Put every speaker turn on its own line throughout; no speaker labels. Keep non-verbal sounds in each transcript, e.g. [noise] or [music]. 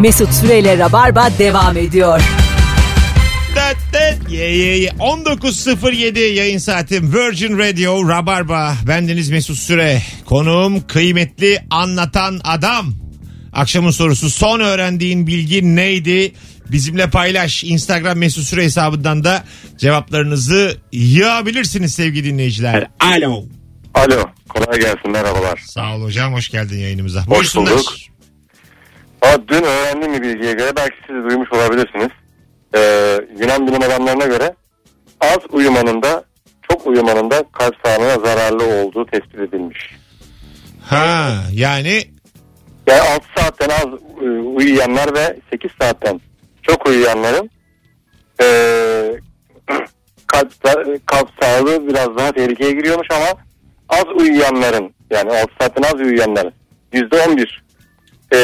Mesut Süreyle Rabarba devam ediyor.
Tet tet ye ye ye. 19.07 yayın saatim Virgin Radio Rabarba. Bendeniz Mesut Süre. Konuğum kıymetli anlatan adam. Akşamın sorusu son öğrendiğin bilgi neydi? Bizimle paylaş. Instagram Mesut Süre hesabından da cevaplarınızı yığabilirsiniz sevgili dinleyiciler.
Alo.
Alo, kolay gelsin, merhabalar.
Sağ ol hocam hoş geldin yayınımıza.
Hoş
Buyursunlar.
bulduk. Aa, dün öğrendiğim bir bilgiye göre, belki siz de duymuş olabilirsiniz. Ee, Yunan bilim adamlarına göre az uyumanın da çok uyumanın da kalp sağlığına zararlı olduğu tespit edilmiş.
Ha yani
Yani 6 saatten az e, uyuyanlar ve 8 saatten çok uyuyanların e, [clears throat] kalp, kalp sağlığı biraz daha tehlikeye giriyormuş ama az uyuyanların yani 6 saatten az uyuyanların %11 e,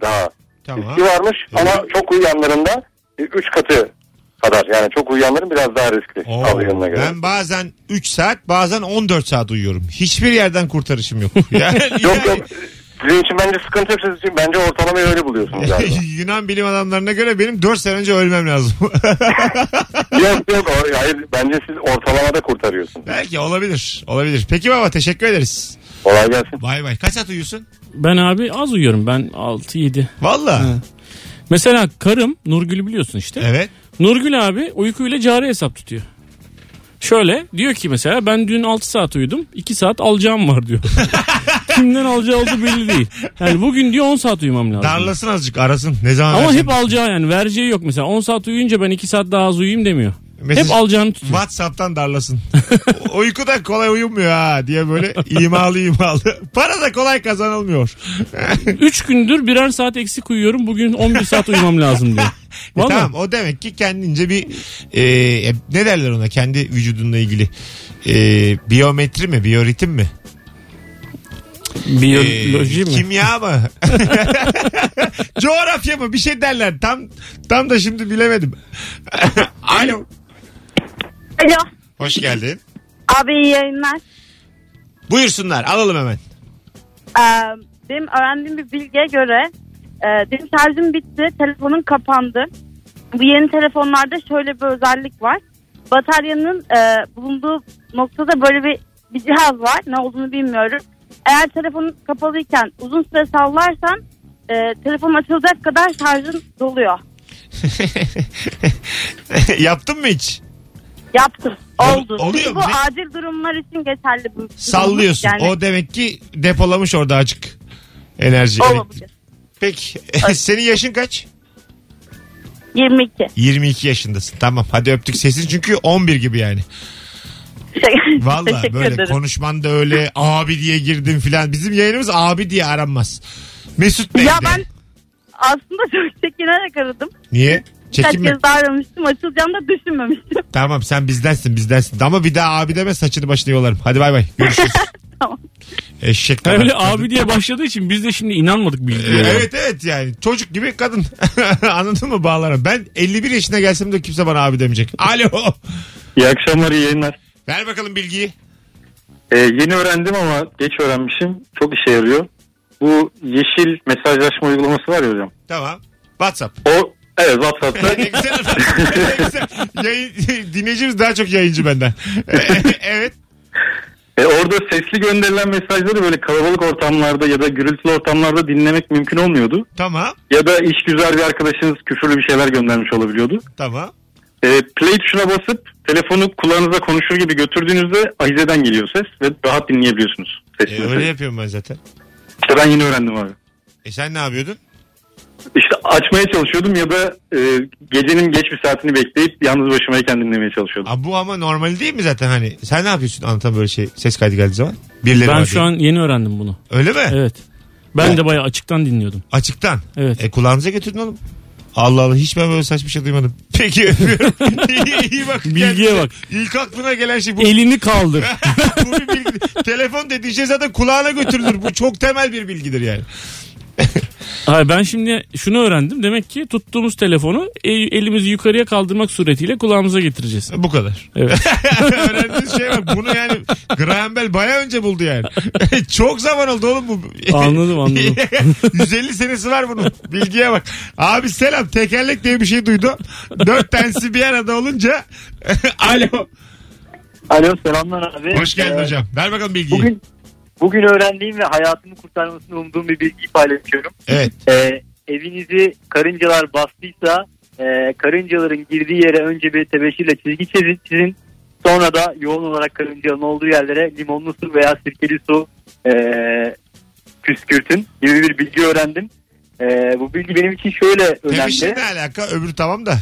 daha
tamam.
riski varmış
Evet.
ama çok uyuyanların da 3 katı kadar yani çok uyuyanların biraz daha riskli
Oo,
az uyuyanına göre.
ben bazen 3 saat bazen 14 saat uyuyorum. Hiçbir yerden kurtarışım
[laughs]
yok. Yani,
Yok yok sizin için bence sıkıntı yok sizin için bence ortalamayı
[laughs]
öyle buluyorsunuz galiba.
Yunan bilim adamlarına göre benim 4 sene önce ölmem lazım. [laughs]
yok yok o- hayır bence siz ortalamada kurtarıyorsunuz.
Belki olabilir. Olabilir. Peki baba teşekkür ederiz.
Kolay gelsin.
Bay bay. Kaç saat uyuyorsun?
Ben abi az uyuyorum ben 6-7.
Valla.
Mesela karım Nurgül'ü biliyorsun işte.
Evet.
Nurgül abi uykuyla cari hesap tutuyor. Şöyle diyor ki mesela ben dün 6 saat uyudum 2 saat alacağım var diyor. [laughs] Kimden alacağı olduğu belli değil. Yani bugün diyor 10 saat uyumam lazım.
Darlasın azıcık arasın. Ne zaman
Ama
versen.
hep alacağı yani vereceği yok mesela 10 saat uyuyunca ben 2 saat daha az uyuyayım demiyor.
Mesaj-
Hep alacağını tutuyor. [laughs]
Whatsapp'tan darlasın. U- Uyku da kolay uyumuyor ha diye böyle imalı imalı. Para da
[laughs]
kolay kazanılmıyor.
3 gündür birer saat eksik uyuyorum bugün 11 saat uyumam lazım diyor.
[laughs] E
Vallahi.
tamam o demek ki kendince bir e, e, ne derler ona kendi vücudunla ilgili e, biyometri mi biyoritim mi? E,
Biyoloji mi? [laughs]
Kimya mı? Coğrafya mı? Bir şey derler. Tam tam da
[laughs]
şimdi bilemedim. Alo.
Alo.
Hoş geldin.
Abi iyi yayınlar.
Buyursunlar alalım hemen. [laughs]
Ee, benim öğrendiğim bir bilgiye göre e, benim şarjım bitti. Telefonum kapandı. Bu yeni telefonlarda şöyle bir özellik var. Bataryanın e, bulunduğu noktada böyle bir, bir cihaz var. Ne olduğunu bilmiyorum. Eğer telefonun kapalıyken uzun süre sallarsan e, telefon açılacak kadar şarjın doluyor.
Yaptın mı hiç?
Yaptım.
Ol-
Oldu.
oluyor
Çünkü
mu?
bu
Ne-
acil durumlar için geçerli bu.
Sallıyorsun.
Yani,
O demek ki depolamış orada açık enerji.
olabilir.
Peki [laughs] senin yaşın kaç?
22.
22 yaşındasın. Tamam hadi öptük sesin çünkü 11 gibi yani. Valla
Teşekkür
böyle
ederim.
konuşman da öyle abi diye girdim filan. Bizim yayınımız abi diye aranmaz. Mesut Bey
Ya
de.
ben aslında [laughs] çok çekinerek aradım.
Niye?
Birkaç
Çekinme.
kez daha aramıştım. Açılacağını da düşünmemiştim.
Tamam sen bizdensin bizdensin. Ama bir daha abi deme saçını başını yolarım. Hadi bay bay görüşürüz.
[laughs] Tamam.
Eşek kadar
Öyle
kadın.
abi diye başladığı için biz de şimdi inanmadık
Ee,
bilgiye.
Evet evet yani çocuk gibi kadın. [laughs] Anladın mı bağlarım. Ben 51 yaşına gelsem de kimse bana abi demeyecek. Alo.
İyi akşamlar, iyi yayınlar.
Ver bakalım bilgiyi.
Ee, yeni öğrendim ama geç öğrenmişim. Çok işe yarıyor. Bu yeşil mesajlaşma uygulaması var ya hocam.
Tamam. WhatsApp.
O evet
[laughs]
WhatsApp'ta.
Ne güzel. Ne güzel. [laughs] Yayın- dinleyicimiz daha çok yayıncı benden. [laughs] evet.
E, orada sesli gönderilen mesajları böyle kalabalık ortamlarda ya da gürültülü ortamlarda dinlemek mümkün olmuyordu.
Tamam.
Ya da iş güzel bir arkadaşınız küfürlü bir şeyler göndermiş olabiliyordu.
Tamam.
E, play tuşuna basıp telefonu kulağınıza konuşur gibi götürdüğünüzde ahizeden geliyor ses ve rahat dinleyebiliyorsunuz. Sesli
E,
mesajı.
öyle yapıyorum ben zaten.
İşte ben yeni öğrendim abi.
E sen ne yapıyordun?
İşte açmaya çalışıyordum ya da e, gecenin geç bir saatini bekleyip yalnız başımayken dinlemeye çalışıyordum.
Aa, bu ama normal değil mi zaten hani? Sen ne yapıyorsun anlatan böyle şey ses kaydı geldiği zaman? Birileri
Ben
var
şu
diye.
an yeni öğrendim bunu.
Öyle mi?
Evet. Ben de bayağı açıktan dinliyordum.
Açıktan.
Evet.
E kulağınıza götürdün oğlum. Allah Allah hiç ben böyle saçma şey duymadım. [laughs] Peki öpüyorum. iyi, iyi bak.
Bilgiye
kendinize.
bak.
İlk aklına gelen şey bu.
Elini kaldır.
[laughs] bu bir bilgi. Telefon dediğin şey zaten kulağına götürülür. Bu çok temel bir bilgidir yani.
Hayır, ben şimdi şunu öğrendim. Demek ki tuttuğumuz telefonu el- elimizi yukarıya kaldırmak suretiyle kulağımıza getireceğiz.
[laughs] Bu kadar.
Evet.
Öğrendiğiniz şey var. Bunu yani Graham Bell baya önce buldu yani. [laughs] Çok zaman oldu oğlum bu. [laughs]
Anladım, anladım.
150 senesi var bunun. Bilgiye bak. Abi selam tekerlek diye bir şey duydu. Dört tanesi bir arada olunca. [laughs] Alo.
Alo selamlar abi.
Hoş geldin
Ee,
hocam. Ver bakalım bilgiyi.
Bugün bugün öğrendiğim ve hayatımı kurtarmasını umduğum bir bilgiyi paylaşıyorum.
Evet.
Ee, evinizi karıncalar bastıysa e, karıncaların girdiği yere önce bir tebeşirle çizgi çizin, çizin. Sonra da yoğun olarak karıncanın olduğu yerlere limonlu su veya sirkeli su e, püskürtün gibi bir bilgi öğrendim. E, bu bilgi benim için şöyle
Temişin
önemli.
ne alaka? Öbürü tamam da.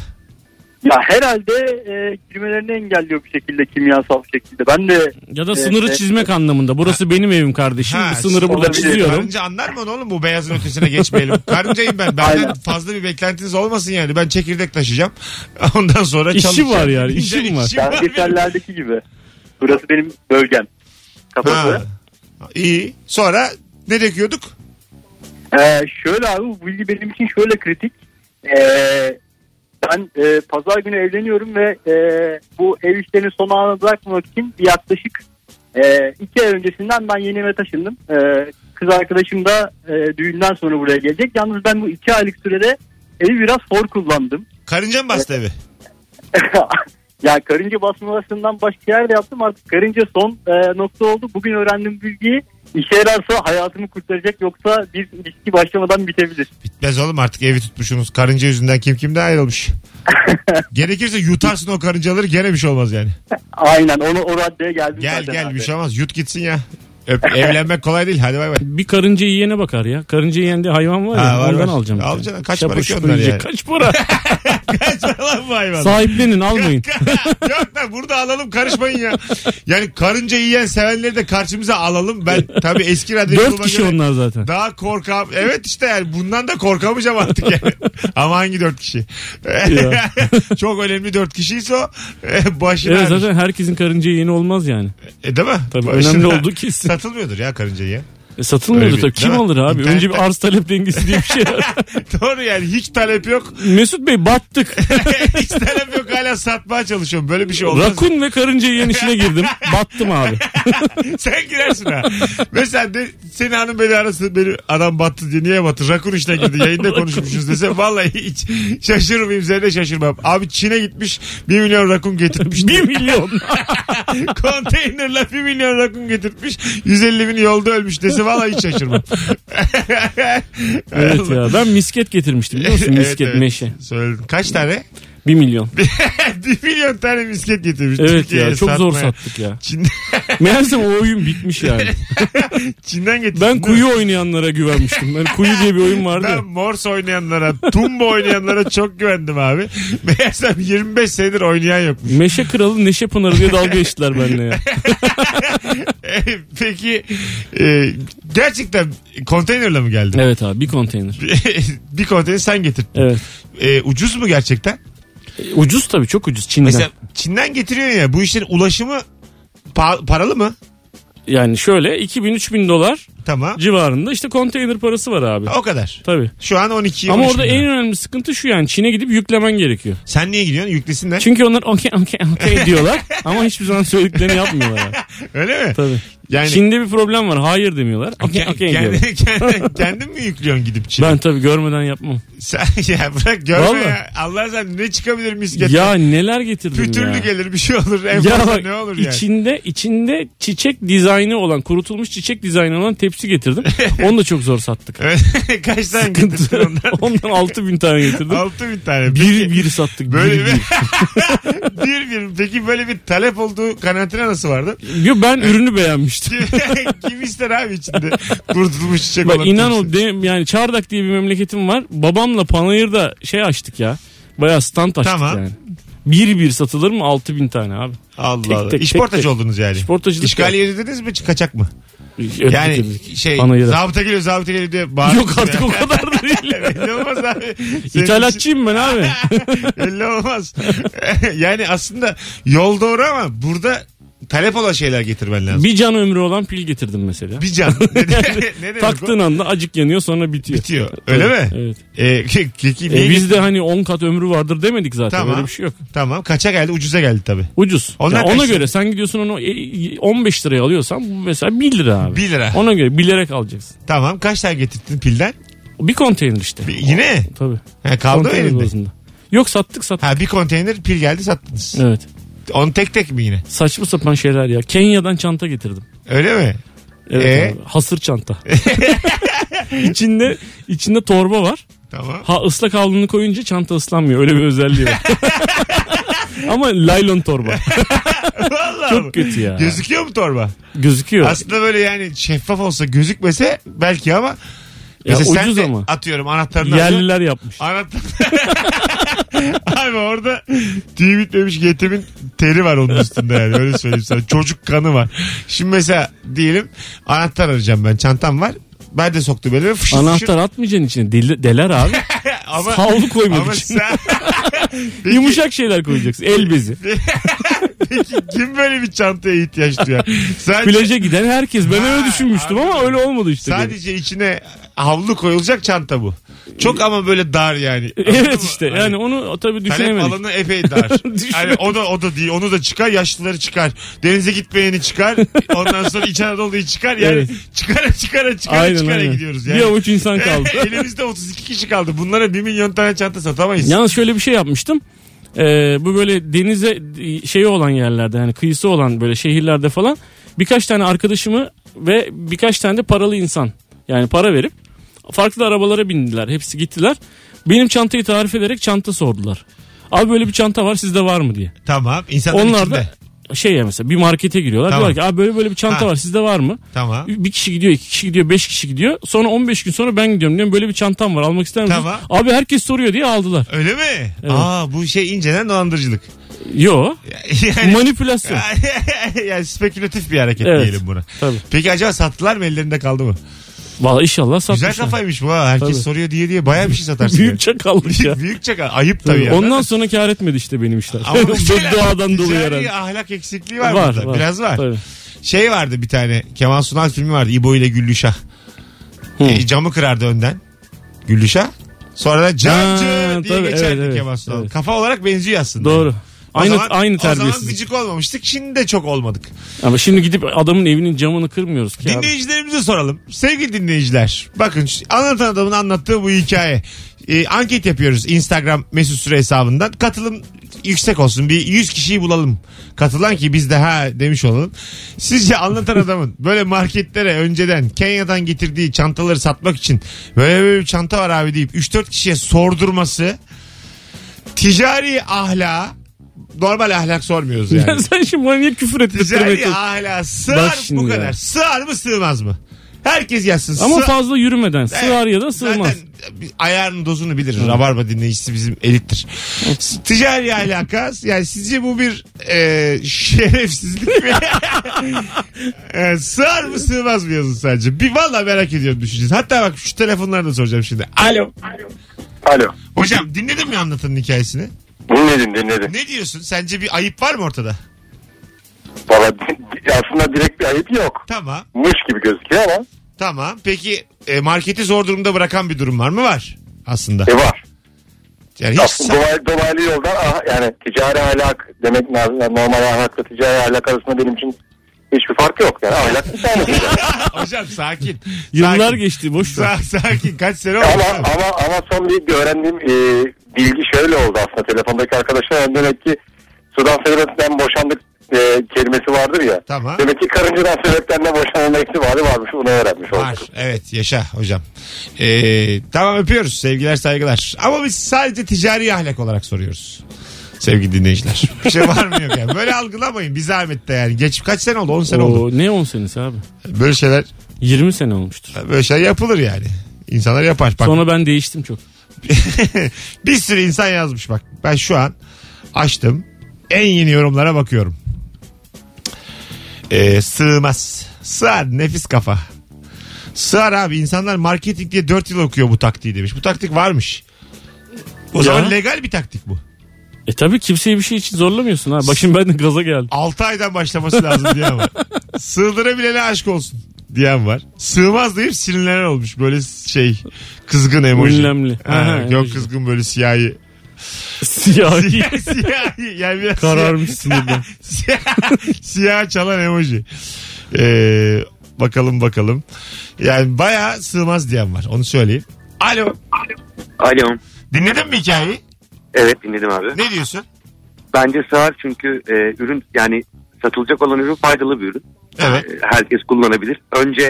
Ya herhalde e, girmelerini engelliyor bir şekilde kimyasal bir şekilde. Ben de
Ya da
Evet,
sınırı
evet.
çizmek anlamında. Burası benim evim kardeşim.
Ha,
Bu sınırı burada
olabilir.
çiziyorum.
Karınca anlar mı onu oğlum bu beyazın ötesine geçmeyelim. Karıncayım ben. Benden
Aynen.
fazla bir beklentiniz olmasın yani. Ben çekirdek taşıyacağım. [laughs] Ondan sonra
İşim
çalışacağım.
var
[laughs]
yani, işim var.
belgesellerdeki gibi. Burası benim bölgem.
Ha.
Kafası.
İyi. Sonra ne döküyorduk?
Ee, şöyle abi bu bilgi benim için şöyle kritik. Ee, ben e, pazar günü evleniyorum ve e, bu ev işlerini son ana bırakmamak için bir yaklaşık e, iki ay öncesinden ben yeni eve taşındım. E, kız arkadaşım da e, düğünden sonra buraya gelecek. Yalnız ben bu iki aylık sürede evi biraz for kullandım.
Karınca mı bastı evi?
ya karınca basmalarından başka yer de yaptım. Artık karınca son e, nokta oldu. Bugün öğrendiğim bilgiyi işe yararsa hayatımı kurtaracak yoksa bir ilişki başlamadan bitebilir.
Bitmez oğlum artık evi tutmuşsunuz. Karınca yüzünden kim
[laughs]
kimden ayrılmış. Gerekirse yutarsın o karıncaları gene bir şey olmaz yani.
Aynen onu o raddeye geldim.
Gel
zaten
gel
abi.
bir şey olmaz. Yut gitsin ya. Öp, evlenmek kolay değil. Hadi
[laughs]
bay bay.
Bir karınca yiyene bakar ya. Karınca yiyen de hayvan var ya.
Ha, var,
ondan
var.
alacağım. bir tane.
Alacaksın. Kaç
Şapur
para ki
şupur
onlar
yiyecek.
yani?
Kaç
[laughs]
para?
Kaç lan bu hayvan.
Sahiplenin almayın.
Yok lan burada alalım karışmayın ya. Yani karınca yiyen sevenleri de karşımıza
[laughs]
alalım. Ben tabii eski radyoculuğuma
Dört kişi
göre
onlar zaten.
Daha korkam. Evet işte yani bundan da korkamayacağım artık yani.
[laughs]
Ama hangi dört kişi?
Ya.
[laughs] Çok önemli dört kişiyse o e, başına
Evet
ağrır.
zaten herkesin karınca yiyeni olmaz yani.
E, değil mi?
Tabii
Başına-
önemli olduğu kesin.
Satılmıyordur ya [laughs] karınca yiyen.
E, satılmıyordu
Öyle
tabii.
bir-
Kim
Değil mi?
alır abi?
İnternetten-
Önce bir arz talep dengesi diye bir şey var.
[laughs] Doğru yani hiç talep yok. [laughs]
Mesut Bey battık.
hiç talep yok hala satmaya çalışıyorum. Böyle bir şey [laughs] olmaz.
Rakun ve karınca yiyen işine girdim. Battım abi.
[laughs] Sen girersin ha. Mesela de, senin hanım beni arasın beni adam battı diye niye battı? Rakun işine girdi
[laughs]
yayında konuşmuşuz dese vallahi hiç şaşırmayayım seni de şaşırmam. Abi Çin'e gitmiş 1 milyon rakun getirmiş.
Bir milyon.
[laughs] Konteynerle 1 milyon rakun getirtmiş 150 bin yolda ölmüş dese vallahi hiç şaşırmam.
[laughs] evet ya ben misket getirmiştim biliyor
[laughs]
musun? Misket meşe.
Söyledim. Kaç tane? [laughs]
Bir milyon.
1 milyon tane misket getirmiş.
Evet
Türkiye'ye
ya çok zor
satmaya.
sattık
[laughs]
ya.
Çin,
Meğerse o oyun bitmiş yani.
Çin'den getirmiş.
Ben kuyu oynayanlara güvenmiştim. Ben kuyu diye bir oyun vardı. ya.
Ben Morse oynayanlara, Tumba oynayanlara çok güvendim abi. Meğersem 25 senedir oynayan yokmuş.
Meşe kralı Neşe Pınarı diye dalga geçtiler benimle
[laughs]
ya.
E, [laughs] Peki e, gerçekten konteynerle mi geldin?
Evet abi bir konteyner.
[laughs] bir konteyner sen getirdin.
Evet.
E, ucuz mu gerçekten?
E, Ucuz tabii çok ucuz Çin'den.
Mesela Çin'den getiriyorsun ya bu işlerin ulaşımı pa- paralı mı?
Yani şöyle 2000-3000 dolar
Tamam.
civarında işte konteyner parası var abi.
O kadar.
Tabii.
Şu an 12
Ama
13
orada
bin
en
lira.
önemli sıkıntı şu yani Çin'e gidip yüklemen gerekiyor.
Sen niye gidiyorsun? Yüklesinler.
Çünkü onlar okey okey
[laughs]
okey diyorlar ama hiçbir zaman söylediklerini yapmıyorlar. Yani.
Öyle mi?
Tabii.
Yani
Çin'de bir problem var hayır demiyorlar. Okey okey diyorlar.
[laughs] kendi, kendi, kendin mi yüklüyorsun gidip Çin'e?
Ben tabii görmeden yapmam.
Sen [laughs] ya bırak görme
Vallahi.
ya. Allah sen ne çıkabilir misket?
Ya neler getirdim
Pütürlü
ya.
gelir bir şey olur. En
Ya
fazla
bak,
ne olur yani.
içinde içinde çiçek dizaynı olan kurutulmuş çiçek dizaynı olan tepsi
[laughs]
getirdim. Onu da çok zor sattık.
Evet. [laughs] Kaç tane getirdin ondan?
[laughs] Ondan 6000 tane getirdim.
Altı bin tane.
bir bir sattık.
Böyle
bir,
bir... bir [laughs] bir. Peki böyle bir talep olduğu kanaatine nasıl vardı?
bir. Yo, ben ürünü beğenmiştim.
[laughs] Kim, kim ister abi içinde? Kurtulmuş çiçek
Bak
olan
inan
kimse.
o de- yani Çardak diye bir memleketim var. Babamla Panayır'da şey açtık ya. Bayağı stand açtık
Tamam.
yani. Bir bir satılır mı 6000 tane abi. Tek
Allah Allah.
tek, tek
İşportacı
tek.
oldunuz yani.
İşportacılık
İşgali yediniz mi kaçak mı?
Öptük
Yani
öptük.
şey
Panayır'a.
zabıta geliyor zabıta geliyor diye
[laughs]
bağırıyor.
Yok artık o kadar da
[laughs]
değil.
Belli
[laughs]
olmaz abi. Senin için- [laughs]
İthalatçıyım ben abi.
Belli olmaz. yani aslında yol doğru ama burada talep olan şeyler getirmen lazım.
Bir can ömrü olan pil getirdim mesela.
Bir
[laughs]
can. ne, de- [laughs] ne demek
Taktığın
o?
anda acık yanıyor sonra bitiyor.
Bitiyor. Öyle mi?
Evet.
Ee, ke- keki
E,
niye-
bizde hani 10 kat ömrü vardır demedik zaten.
Tamam.
Öyle bir şey yok.
Tamam. Kaça geldi? Ucuza geldi tabii.
Ucuz.
Onlar
Ya ona
kaç lira?
göre sen gidiyorsun onu e, 15 liraya alıyorsan bu mesela 1 lira abi.
1 lira.
Ona göre bilerek alacaksın.
Tamam. Kaç tane getirdin pilden?
Bir konteyner işte.
Bir- yine.
Tabii.
Ha, kaldı mı
Konteyner
elinde?
bazında. Yok sattık sattık.
Ha bir konteyner pil geldi sattınız.
Evet.
On tek tek mi yine?
Saçma sapan şeyler ya. Kenya'dan çanta getirdim.
Öyle mi?
Evet
Ee?
abi. Hasır çanta. [laughs] içinde içinde torba var. [laughs]
Tamam.
Ha ıslak havlunu koyunca çanta ıslanmıyor. Öyle bir özelliği var. [laughs] Ama laylon torba. [laughs]
Vallahi
Çok
mi?
kötü ya.
Gözüküyor mu torba?
Gözüküyor.
Aslında böyle yani şeffaf olsa gözükmese belki ama
Ya
mesela sen
ucuz
de
ama.
atıyorum anahtarını alacaksın.
Yerliler yapmış.
Anahtar. [laughs] Abi orada tüy bitmemiş yetimin teri var onun üstünde yani öyle söyleyeyim sana. Çocuk kanı var. Şimdi mesela diyelim anahtar arayacağım ben çantam var. Ben de soktum elime fışır fışır.
Anahtar atmayacaksın içine. Deli- deler abi.
[laughs] Ama,
Havlu koymak
ama
için.
sen... Peki-
Yumuşak şeyler koyacaksın. El
[laughs]
bezi.
Peki kim böyle bir çantaya ihtiyaç duyar? Sadece,
Plaja giden herkes. Ben öyle düşünmüştüm ama öyle olmadı işte.
sadece içine havlu koyulacak çanta bu. Çok ama böyle dar yani. Anladın
Evet
mı?
işte.
Hani
Yani onu tabii
Talep
düşünemedik.
alanı epey
[laughs]
dar. yani o da o da değil. Onu da çıkar. Yaşlıları çıkar. Denize gitmeyeni çıkar. Ondan sonra İç Anadolu'yu çıkar. Yani
Evet.
çıkara çıkara çıkara
Aynen
çıkara
aynen.
gidiyoruz. Yani.
Bir avuç
[laughs]
insan kaldı.
Elimizde 32 kişi kaldı. Bunlara 1 milyon tane çanta satamayız.
Yalnız şöyle bir şey yapmıştım. Ee, bu böyle denize şeyi olan yerlerde yani kıyısı olan böyle şehirlerde falan birkaç tane arkadaşımı ve birkaç tane de paralı insan yani para verip farklı arabalara bindiler. Hepsi gittiler. Benim çantayı tarif ederek çanta sordular. Abi böyle bir çanta var sizde var mı diye.
Tamam. İnsanların
Onlar
içinde.
da şey ya mesela bir markete giriyorlar.
Tamam.
Diyorlar ki abi böyle böyle bir çanta
Ha.
var sizde var mı?
Tamam.
Bir kişi gidiyor, iki kişi gidiyor, beş kişi gidiyor. Sonra 15 gün sonra ben gidiyorum diyorum böyle bir çantam var almak ister misin?
Tamam.
Abi herkes soruyor diye aldılar.
Öyle mi? Aa bu şey inceden dolandırıcılık. [laughs]
Yo.
Yani,
Manipülasyon.
[laughs] yani spekülatif bir hareket
Evet.
diyelim buna.
Tabii.
Peki acaba sattılar mı ellerinde kaldı mı?
Valla inşallah satmışlar. [laughs]
Güzel kafaymış bu ha. Herkes
Tabii.
soruyor diye diye bayağı bir şey satarsın. yani.
Büyük çakallık ya.
[laughs] Büyük çakal. Ayıp tabii.
Tabii.
yani.
Ondan sonra kar etmedi işte benim işler.
Ama
[laughs]
mesela
Doğadan dolayı
ticari
herhalde.
ahlak eksikliği var,
Var,
burada.
var.
Biraz var.
Tabii.
Şey vardı bir tane Kemal Sunal filmi vardı. İbo ile Güllüşah. E, camı kırardı önden. Güllüşah. Sonra da cancı
Ha,
diye
tabii,
geçerdi
evet, evet,
Kemal Sunal.
evet.
Kafa olarak benziyor aslında.
Doğru.
O
Aynı
zaman-
aynı
O zaman
terbiyesizlik.
gıcık olmamıştık. Şimdi de çok olmadık.
Ama şimdi gidip adamın evinin camını kırmıyoruz ki abi.
Dinleyicilerimize soralım. Sevgili dinleyiciler. Bakın şu- anlatan adamın anlattığı bu hikaye. Ee, anket yapıyoruz Instagram mesut süre hesabından. Katılım yüksek olsun. Bir 100 kişiyi bulalım. Katılan ki biz de ha demiş olalım. Sizce anlatan adamın böyle marketlere önceden Kenya'dan getirdiği çantaları satmak için böyle böyle bir çanta var abi deyip 3-4 kişiye sordurması ticari ahla normal ahlak
[laughs]
sormuyoruz yani.
Sen şimdi bana niye küfür ettirmeye
Ticari
çalışıyorsun?
hala sığar
Bak
bu
şimdi ya.
kadar. Sığar mı sığmaz mı? Herkes yazsın.
Ama
Sığ-
fazla yürümeden. Sığar ya da sığmaz.
Zaten bir ayarın dozunu bilir. Rabarba dinleyicisi bizim elittir. S- Ticari alaka yani sizce bu bir e, şerefsizlik
[laughs]
mi? E, sığar mı sığmaz mı yazın sadece. Bir valla merak ediyorum düşüneceğiz. Hatta bak şu telefonları da soracağım şimdi. Alo.
Alo.
Hocam dinledin mi anlatanın hikayesini?
Dinledim dinledim.
Ne diyorsun? Sence bir ayıp var mı ortada?
Valla aslında direkt bir ayıp yok.
Tamam.
Mış gibi gözüküyor ama
Tamam. Peki e, marketi zor durumda bırakan bir durum var mı? Var aslında.
e var.
Yani hiç
Aslında dolaylı, dolaylı yoldan ah, yani ticari ahlak demek lazım. Yani normal ahlakla ticari ahlak arasında benim için hiçbir fark yok. Yani ahlak bir tanesi.
[laughs] hocam sakin.
Yıllar
sakin.
geçti boş ver.
Sa- sakin. Kaç sene oldu?
ama,
hocam?
ama, ama son bir, bir öğrendiğim e, bilgi şöyle oldu aslında. Telefondaki arkadaşlar demek ki sudan sebepten boşandık e, kelimesi vardır ya.
Tamam.
Demek ki karıncadan sebepten de boşanma ihtimali varmış. Bunu öğrenmiş olduk.
Var. Evet yaşa hocam. Ee, tamam öpüyoruz. Sevgiler saygılar. Ama biz sadece ticari ahlak olarak soruyoruz. Sevgili dinleyiciler. [laughs] Bir şey var mı yok yani. Böyle algılamayın. Bir zahmet de yani. Geç kaç sene oldu? 10 sene oldu.
Oo, ne 10 senesi abi?
Böyle şeyler
20 sene olmuştur.
böyle şeyler yapılır yani. İnsanlar yapar. Bak,
Sonra ben değiştim çok.
[laughs] bir sürü insan yazmış bak. Ben şu an açtım. En yeni yorumlara bakıyorum. Ee, sığmaz. Sığar nefis kafa. Sığar abi insanlar marketing diye 4 yıl okuyor bu taktiği demiş. Bu taktik varmış. O
Ya.
zaman legal bir taktik bu.
E tabii kimseyi bir şey için zorlamıyorsun ha. Başım ben de gaza geldi.
6 aydan başlaması lazım
[laughs]
diyen var. Sığdırabilene aşk olsun diyen var. Sığmaz deyip sinirlenen olmuş. Böyle şey kızgın emoji.
Ünlemli.
Ha,
Aha,
yok
emoji.
kızgın böyle siyahi.
Siyahi.
[laughs] siyahi. Yani biraz
Kararmış sinirden.
[laughs] Siyah, siyah çalan emoji. Ee, bakalım bakalım. Yani bayağı sığmaz diyen var. Onu söyleyeyim. Alo.
Alo.
Dinledin mi hikayeyi?
Evet dinledim abi.
Ne diyorsun?
Bence sığar çünkü e, ürün yani satılacak olan ürün faydalı bir ürün.
Evet.
E, Herkes kullanabilir. Önce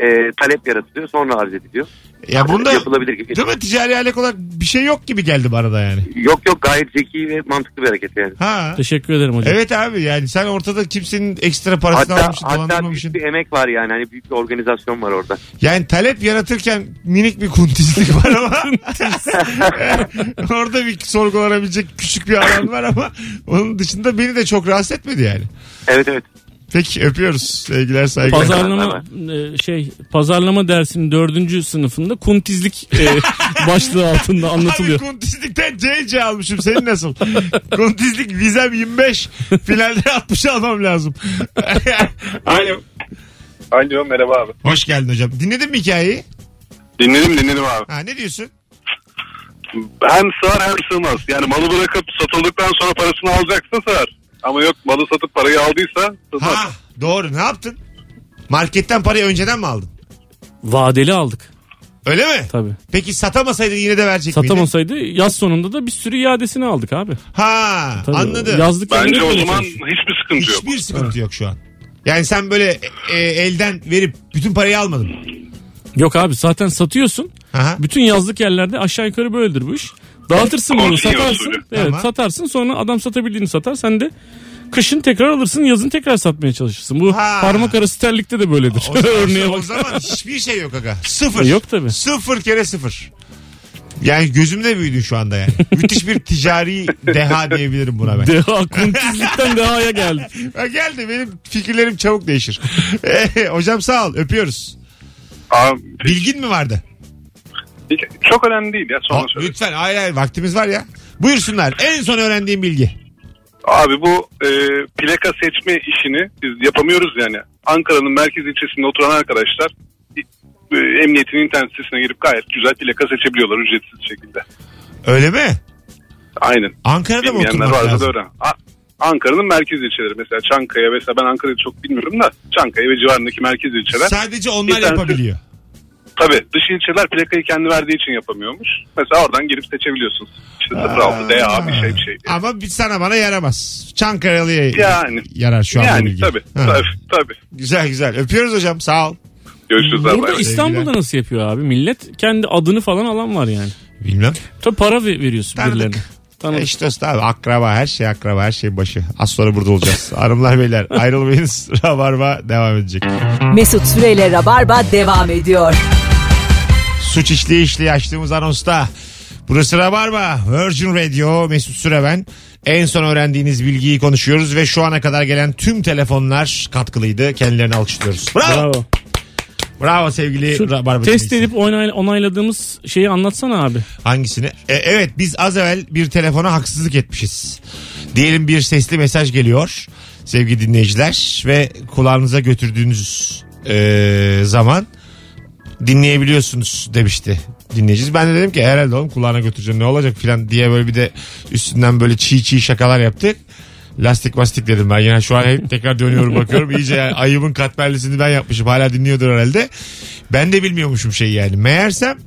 e, talep yaratılıyor sonra arz ediliyor.
Ya bunda
Yapılabilir gibi.
değil mi ticari alek olarak bir şey yok gibi geldi bana da yani.
Yok yok gayet zeki ve mantıklı bir hareket yani.
Ha.
Teşekkür ederim hocam.
Evet abi yani sen ortada kimsenin ekstra parasını
Hatta,
almamışsın,
hatta
dolandırmamışsın.
büyük bir emek var yani. Hani büyük bir organizasyon var orada.
Yani talep yaratırken minik bir kuntizlik var ama [laughs] orada bir sorgulanabilecek küçük bir alan var ama onun dışında beni de çok rahatsız etmedi yani.
Evet evet.
Peki öpüyoruz. Sevgiler saygılar.
Pazarlama e, şey pazarlama dersinin dördüncü sınıfında kuntizlik e, başlığı altında anlatılıyor.
Abi kuntizlikten CC almışım.
[laughs]
Senin nasıl? Kuntizlik vizem 25. Finalde [laughs] 60 almam
[laughs]
lazım. Alo.
Alo merhaba abi.
Hoş geldin hocam. Dinledin mi hikayeyi?
Dinledim dinledim abi.
Ha, ne diyorsun?
Hem sığar hem sığmaz. Yani malı bırakıp satıldıktan sonra parasını alacaksa sığar. Ama yok malı satıp parayı aldıysa sığmaz.
Ha doğru ne yaptın? Marketten parayı önceden mi aldın?
Vadeli aldık
Öyle mi?
tabii.
Peki satamasaydın yine de verecek miydin?
Satamasaydı yaz sonunda da bir sürü iadesini aldık abi.
Ha
Tabii.
anladım.
Yazlık
Bence
yerine
o
böyle
zaman
çalışıyor.
hiçbir sıkıntı yok.
Hiçbir sıkıntı yok şu an. Yani sen böyle e, elden verip bütün parayı almadın.
Yok abi zaten satıyorsun.
Aha.
Bütün yazlık yerlerde aşağı yukarı böyledir bu iş. Dağıtırsın bunu
Konsiyon
satarsın.
usulü.
Evet
Tamam.
satarsın sonra adam satabildiğini satar sen de kışın tekrar alırsın yazın tekrar satmaya çalışırsın. Bu
Ha.
parmak arası terlikte de böyledir.
[laughs] O
[laughs]
zaman,
Örneğe
o
bak.
zaman hiçbir şey yok aga. Sıfır.
Yok tabii.
Sıfır kere sıfır. Yani gözümde büyüdü şu
[laughs]
anda yani. Müthiş bir ticari deha diyebilirim buna ben.
Deha kuntizlikten dehaya geldi.
[laughs] Ha geldi benim fikirlerim çabuk değişir. [laughs] Eh, Hocam sağ ol öpüyoruz.
Abi,
Bilgin mi vardı?
çok önemli değil ya
Ha, lütfen hayır hayır vaktimiz var ya. Buyursunlar en son öğrendiğim bilgi.
Abi bu e, plaka seçme işini biz yapamıyoruz yani. Ankara'nın merkez ilçesinde oturan arkadaşlar e, emniyetin internet sitesine girip gayet güzel plaka seçebiliyorlar ücretsiz şekilde.
Öyle mi?
Aynen.
Ankara'da mı
Bilmeyenler
oturmak
varsa da
lazım?
öğren. A- Ankara'nın merkez ilçeleri mesela Çankaya mesela ben Ankara'yı çok bilmiyorum da Çankaya ve civarındaki merkez ilçeler.
Sadece onlar
İnternet-
yapabiliyor.
Tabii dış ilçeler plakayı kendi verdiği için yapamıyormuş. Mesela oradan girip seçebiliyorsun. İşte 06 DA bir şey bir şey.
Ama bir sana bana yaramaz. Çankaralı'ya
Yani.
yarar şu an bu
Yani
bilgi.
tabii,
Ha.
tabii tabii.
Güzel güzel. Öpüyoruz hocam sağ ol.
Görüşürüz abi.
Burada İstanbul'da
Sevgiler.
nasıl yapıyor abi? Millet kendi adını falan alan var yani.
Bilmem.
Tabii para ver- veriyorsun
Tanıdık.
birilerine. Tanıdık.
Eş dost abi E akraba her şey akraba her şey başı. Az sonra burada olacağız. [laughs] Hanımlar beyler ayrılmayınız. Rabarba devam edecek.
Mesut Süreyle Rabarba devam ediyor.
Suç işliği işliği açtığımız anonsta. Burası Rabarba. Virgin Radio Mesut Süre ben. En son öğrendiğiniz bilgiyi konuşuyoruz ve şu ana kadar gelen tüm telefonlar katkılıydı. Kendilerini alkışlıyoruz. Bravo. Bravo,
Bravo.
sevgili
Şu
Rabarba.
test
dinleyicisi.
edip onay- onayladığımız şeyi anlatsana abi.
Hangisini? E, evet biz az evvel bir telefona haksızlık etmişiz. Diyelim bir sesli mesaj geliyor sevgili dinleyiciler ve kulağınıza götürdüğünüz e, zaman dinleyebiliyorsunuz demişti dinleyicimiz. Ben de dedim ki herhalde oğlum kulağına götüreceğim ne olacak filan diye böyle bir de üstünden böyle çiğ çiğ şakalar yaptık. Lastik mastik dedim ben. Yani şu an hep tekrar dönüyorum bakıyorum. İyice yani ayıbın katmerlisini ben yapmışım. Hala dinliyordur herhalde. Ben de bilmiyormuşum şeyi yani. Meğersem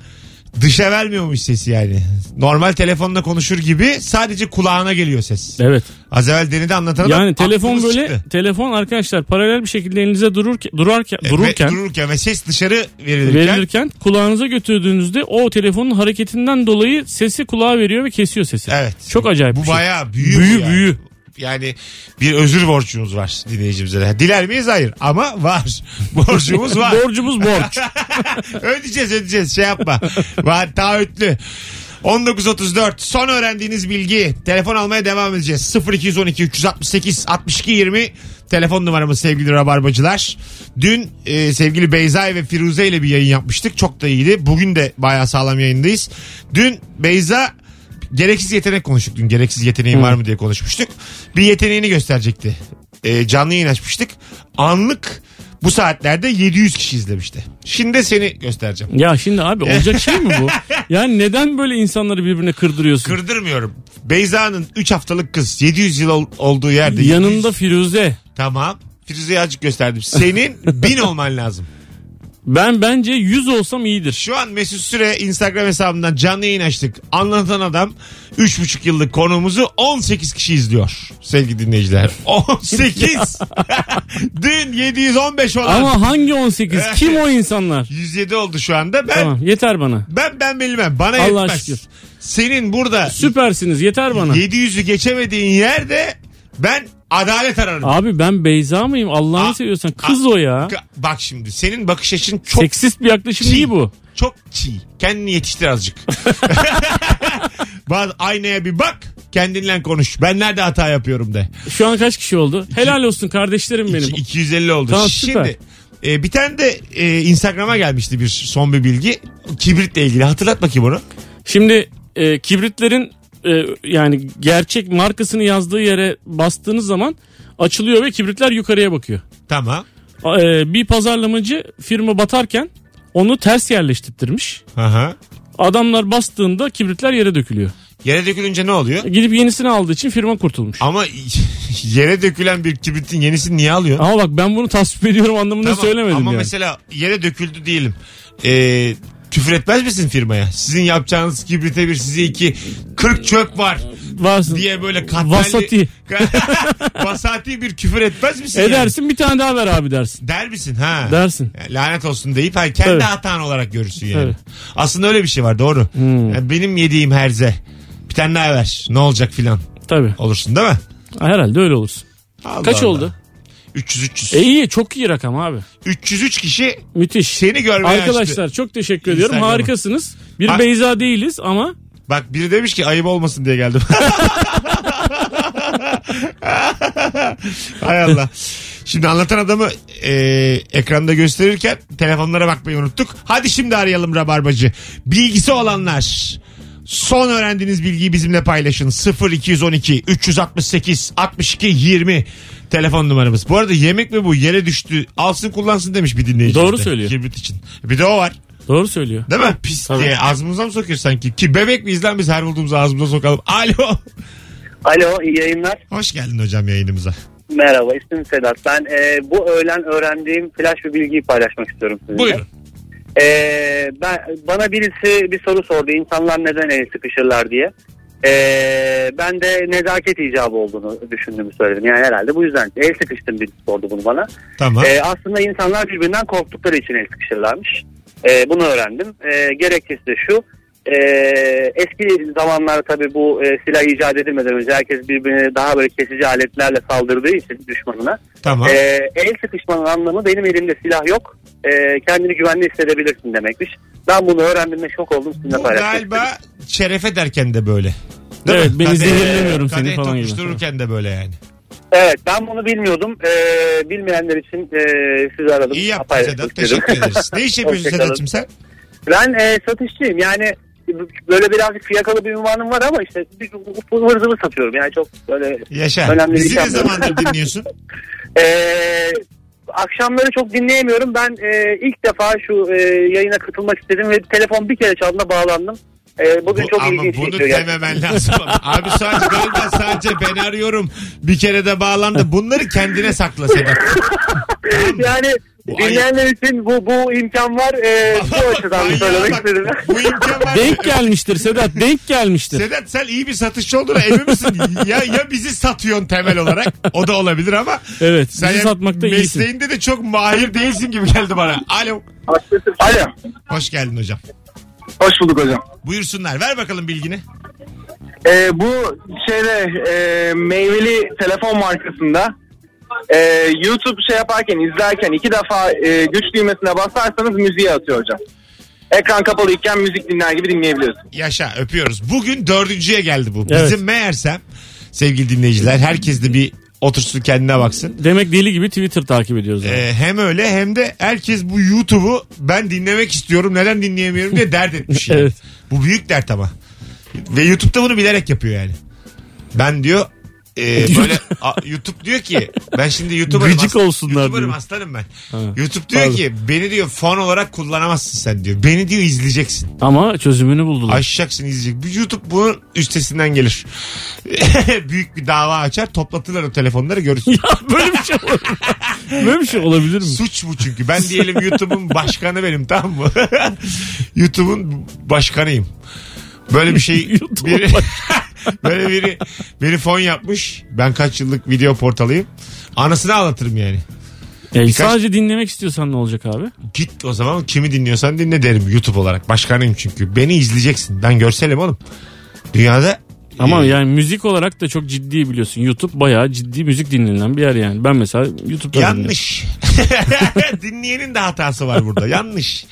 dışa vermiyormuş sesi yani. Normal telefonla konuşur gibi sadece kulağına geliyor ses.
Evet.
Az evvel Deniz'de anlatan adam
Yani telefon
aklımız
böyle
çıktı. E,
telefon arkadaşlar paralel bir şekilde elinize dururken durarken
Ve-
dururken
dururken ve ses dışarı verilirken,
verilirken kulağınıza götürdüğünüzde o telefonun hareketinden dolayı sesi kulağa veriyor ve kesiyor sesi.
Evet.
Çok acayip.
Bu
bir şey.
bayağı büyü.
Büyü,
bu yani.
büyü.
Yani bir özür borcumuz var dinleyicimize. de. Diler miyiz? Hayır. Ama var. [laughs] Borcumuz var.
E, Borcumuz
[laughs]
borç.
ödeyeceğiz ödeyeceğiz. Şey yapma. Var taahhütlü. 19.34 son öğrendiğiniz bilgi. Telefon almaya devam edeceğiz. 0212 368 62 20 telefon numaramız sevgili rabarbacılar. Dün e, sevgili Beyza ve Firuze ile bir yayın yapmıştık. Çok da iyiydi. Bugün de bayağı sağlam yayındayız. Dün Beyza gereksiz yetenek konuştuk dün. Gereksiz yeteneğin var mı diye konuşmuştuk. Bir yeteneğini gösterecekti. Ee, canlı yayın açmıştık. Anlık bu saatlerde 700 kişi izlemişti. Şimdi de seni göstereceğim.
Ya şimdi abi
E.
olacak şey mi bu? Yani neden böyle insanları birbirine kırdırıyorsun?
Kırdırmıyorum. Beyza'nın 3 haftalık kız 700 yıl ol- olduğu yerde. 700
Yanında Firuze.
Tamam. Firuze'yi azıcık gösterdim. Senin 1000 olman lazım.
Ben bence 100 olsam iyidir.
Şu an Mesut Süre Instagram hesabından canlı yayın açtık. Anlatan adam 3,5 yıllık konuğumuzu 18 kişi izliyor.
[laughs]
Sevgili dinleyiciler. 18. [laughs] Dün 715 olan
Ama hangi 18?
E.
Kim o insanlar?
107 oldu şu anda. Ben
Tamam yeter bana.
ben ben bilmem. Bana
Allah'a
yetmez.
şükür.
Senin burada
Süpersiniz yeter bana.
700'ü geçemediğin yerde ben adalet ararım.
Abi ben Beyza mıyım?
A-
Allah'ını seviyorsan kız o ya.
Ka- Bak şimdi senin bakış açın çok
Seksist bir yaklaşım
çiğ.
değil bu.
Çok çiğ. Kendini yetiştir azıcık. [laughs] Bazı aynaya bir bak. Kendinle konuş. Ben nerede hata yapıyorum de.
Şu an kaç kişi oldu? Helal olsun kardeşlerim benim.
İki- 250 oldu.
Tamam, süper.
Şimdi e, bir tane de e, Instagram'a gelmişti bir son bir bilgi. Kibritle ilgili. Hatırlat bakayım onu.
Şimdi e, kibritlerin e, yani gerçek markasını yazdığı yere bastığınız zaman açılıyor ve kibritler yukarıya bakıyor.
Tamam.
A- e, bir pazarlamacı firma batarken onu ters yerleştirmiş.
Aha.
Adamlar bastığında kibritler yere dökülüyor.
Yere dökülünce ne oluyor?
Gidip yenisini aldığı için firma kurtulmuş.
Ama [laughs] yere dökülen bir kibritin yenisini niye alıyorsun?
Ama bak ben bunu tasvip ediyorum anlamında
Tamam,
söylemedim
Ama
yani.
mesela yere döküldü diyelim. Ee, küfür etmez misin firmaya? Sizin yapacağınız kibrite bir size iki 40 çöp var
Varsın.
diye böyle katmerli.
Vasati.
[laughs] Vasati bir küfür etmez misin?
Edersin bir tane daha ver abi dersin.
yani? Der misin ha?
Dersin.
Yani Lanet olsun deyip hayır, kendi
Tabii.
hatan olarak görürsün yani.
Tabii.
Aslında öyle bir şey var doğru.
Hmm.
Yani benim yediğim herze bir tane daha ver ne olacak filan
Tabii.
olursun değil mi?
Herhalde öyle olursun.
Allah
Kaç
Allah.
oldu?
300-300.
E iyi çok iyi rakam abi.
303 kişi
Müthiş.
seni görmeye açtı.
Arkadaşlar çok teşekkür ediyorum.
Instagram'a.
Harikasınız. Bir
Ha-
Beyza değiliz ama
Bak biri demiş ki ayıp olmasın diye geldim. Hay Allah. Şimdi anlatan adamı e, ekranda gösterirken telefonlara bakmayı unuttuk. Hadi şimdi arayalım Rabarbacı. Bilgisi olanlar son öğrendiğiniz bilgiyi bizimle paylaşın. 0212 368 62 20 telefon numaramız. Bu arada yemek mi bu? Yere düştü. Alsın kullansın demiş bir dinleyici.
Doğru
bize.
söylüyor.
Kibrit için. Bir de o var.
doğru söylüyor.
Değil mi? Pis
Tabii.
diye ağzımıza mı sokuyor sanki? Ki bebek miyiz lan biz her bulduğumuzu ağzımıza sokalım. Alo. [laughs]
Alo iyi yayınlar.
Hoş geldin hocam yayınımıza.
Merhaba ismim Sedat. Ben e, bu öğlen öğrendiğim flash bir bilgiyi paylaşmak istiyorum sizinle.
Buyurun.
E, ben, bana birisi bir soru sordu. İnsanlar neden el sıkışırlar diye. E, ben de nezaket icabı olduğunu düşündüğümü söyledim. Yani herhalde bu yüzden el sıkıştım bir sordu bunu bana.
Tamam.
E, aslında insanlar birbirinden korktukları için el sıkışırlarmış. E, bunu öğrendim. E, gerekçesi de şu. E, eski zamanlar tabii bu e, silah icat edilmeden önce herkes birbirine daha böyle kesici aletlerle saldırdığı için düşmanına.
tamam.
E, el sıkışmanın anlamı benim elimde silah yok. E, kendini güvenli hissedebilirsin demekmiş. Ben bunu öğrendiğimde şok oldum sizinle
Bu
paylaştım.
galiba şerefe derken de böyle.
Evet, beni
Kadeh-
zehirlemiyorum seni
kadeh
falan gibi.
tokuştururken de böyle yani.
Evet ben bunu bilmiyordum. E, bilmeyenler için e, sizi aradım.
İyi yaptın
Paylaşmak
Sedat.
istedim.
Teşekkür ederiz. Ne iş yapıyorsun
Hoşçakalın.
Sedat'cığım sen?
[laughs] Ben e, satışçıyım yani böyle birazcık fiyakalı bir ünvanım var ama işte bir hırzımı satıyorum yani çok böyle
Yaşa.
Önemli bir
Bizi
şey
ne zamandır dinliyorsun?
e, akşamları çok dinleyemiyorum ben e, ilk defa şu e, yayına katılmak istedim ve telefon bir kere çaldığında bağlandım E, [laughs] bugün
Bu-
çok
ama
ilginç
bunu
geçiyor gerçekten.
dememen lazım. Abi sadece galiba sadece ben arıyorum. Bir kere de bağlandı. Bunları kendine sakla Sedat.
yani
Bu
dinleyenler için bu bu imkan var E,
[laughs]
bu açıdan
Manyağa
söylemek
bak.
istedim.
Bu imkan var.
Denk gelmiştir Sedat denk gelmiştir.
Sedat sen iyi bir satışçı olduğuna emin misin? ya ya bizi satıyorsun temel olarak. O da olabilir ama.
Evet
Sen
bizi
ya
satmakta iyisin.
mesleğinde de çok mahir değilsin gibi geldi bana. Alo.
Alo.
Hoş geldin hocam.
Hoş bulduk hocam.
Buyursunlar. Ver bakalım bilgini.
Ee,
E,
bu şeyde e, meyveli telefon markasında e, YouTube şey yaparken izlerken iki defa e, güç düğmesine basarsanız müziğe atıyor hocam. Ekran kapalı iken müzik dinler gibi dinleyebiliyorsun.
Yaşa öpüyoruz. Bugün dördüncüye geldi bu.
Evet.
Bizim meğersem sevgili dinleyiciler herkes de bir otursun kendine baksın.
Demek deli gibi Twitter takip ediyoruz. yani.
Ee, hem öyle hem de herkes
[laughs]
bu YouTube'u ben dinlemek istiyorum neden dinleyemiyorum diye dert etmiş. yani.
Evet.
Bu büyük dert ama. Ve YouTube'da bunu bilerek yapıyor yani. Ben diyor
[laughs]
e, böyle a, YouTube diyor ki ben şimdi YouTuber'ım.
Gıcık
aslan-
olsunlar
YouTuber'ım
diyor.
aslanım ben.
Ha.
YouTube diyor
Pardon.
ki beni diyor fon olarak kullanamazsın sen diyor. Beni diyor izleyeceksin.
Ama çözümünü buldular.
Aşacaksın izleyecek. Bir YouTube bunun üstesinden gelir. [laughs] Büyük bir dava açar toplatırlar o telefonları görürsün.
Böyle bir şey olabilir.
[laughs]
Böyle bir şey olabilir mi?
Suç bu çünkü. Ben diyelim YouTube'un başkanı benim tamam mı? [laughs] YouTube'un başkanıyım. Böyle bir şey
YouTube'un
biri, [laughs] böyle biri beni fon yapmış. Ben kaç yıllık video portalıyım. Anasını ağlatırım yani.
Yani
Birkaç-
Sadece dinlemek istiyorsan ne olacak abi?
Git o zaman kimi dinliyorsan dinle derim YouTube olarak. Başkanıyım çünkü. Beni izleyeceksin. Ben görselim oğlum. Dünyada
Ama
e,
yani müzik olarak da çok ciddi biliyorsun. YouTube bayağı ciddi müzik dinlenen bir yer yani. Ben mesela YouTube'da dinliyorum.
Yanlış. [laughs] Dinleyenin de hatası var burada. Yanlış.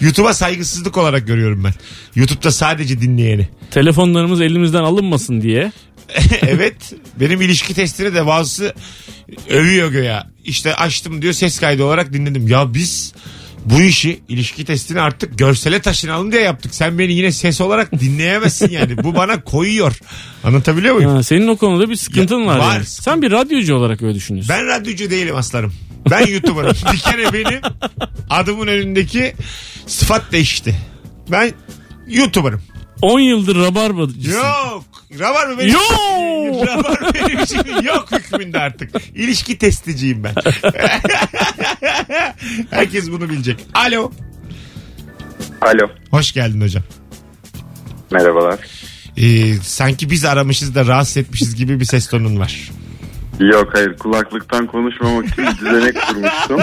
YouTube'a saygısızlık olarak görüyorum ben. YouTube'da sadece dinleyeni.
Telefonlarımız elimizden alınmasın diye.
[laughs] evet. Benim ilişki testini de bazısı övüyor göya. İşte açtım diyor ses kaydı olarak dinledim. Ya biz bu işi ilişki testini artık görsele taşınalım diye yaptık. Sen beni yine ses olarak dinleyemezsin yani. Bu bana koyuyor. Anlatabiliyor muyum?
Ha, senin o konuda bir sıkıntın
Ya,
var.
var.
yani. Sen bir radyocu olarak öyle düşünüyorsun.
Ben radyocu değilim aslarım. Ben YouTuber'ım. bir kere benim adımın önündeki sıfat değişti. Ben YouTuber'ım.
10 yıldır rabarbacısın.
Yok. Rabar mı benim? [laughs]
Yo!
Rabar benim için yok hükmünde artık. İlişki testiciyim ben. [laughs] Herkes bunu bilecek. Alo.
Alo.
Hoş geldin hocam.
Merhabalar.
Ee, sanki biz aramışız da rahatsız etmişiz gibi bir ses tonun var.
Yok hayır kulaklıktan konuşmamak için düzenek kurmuştum.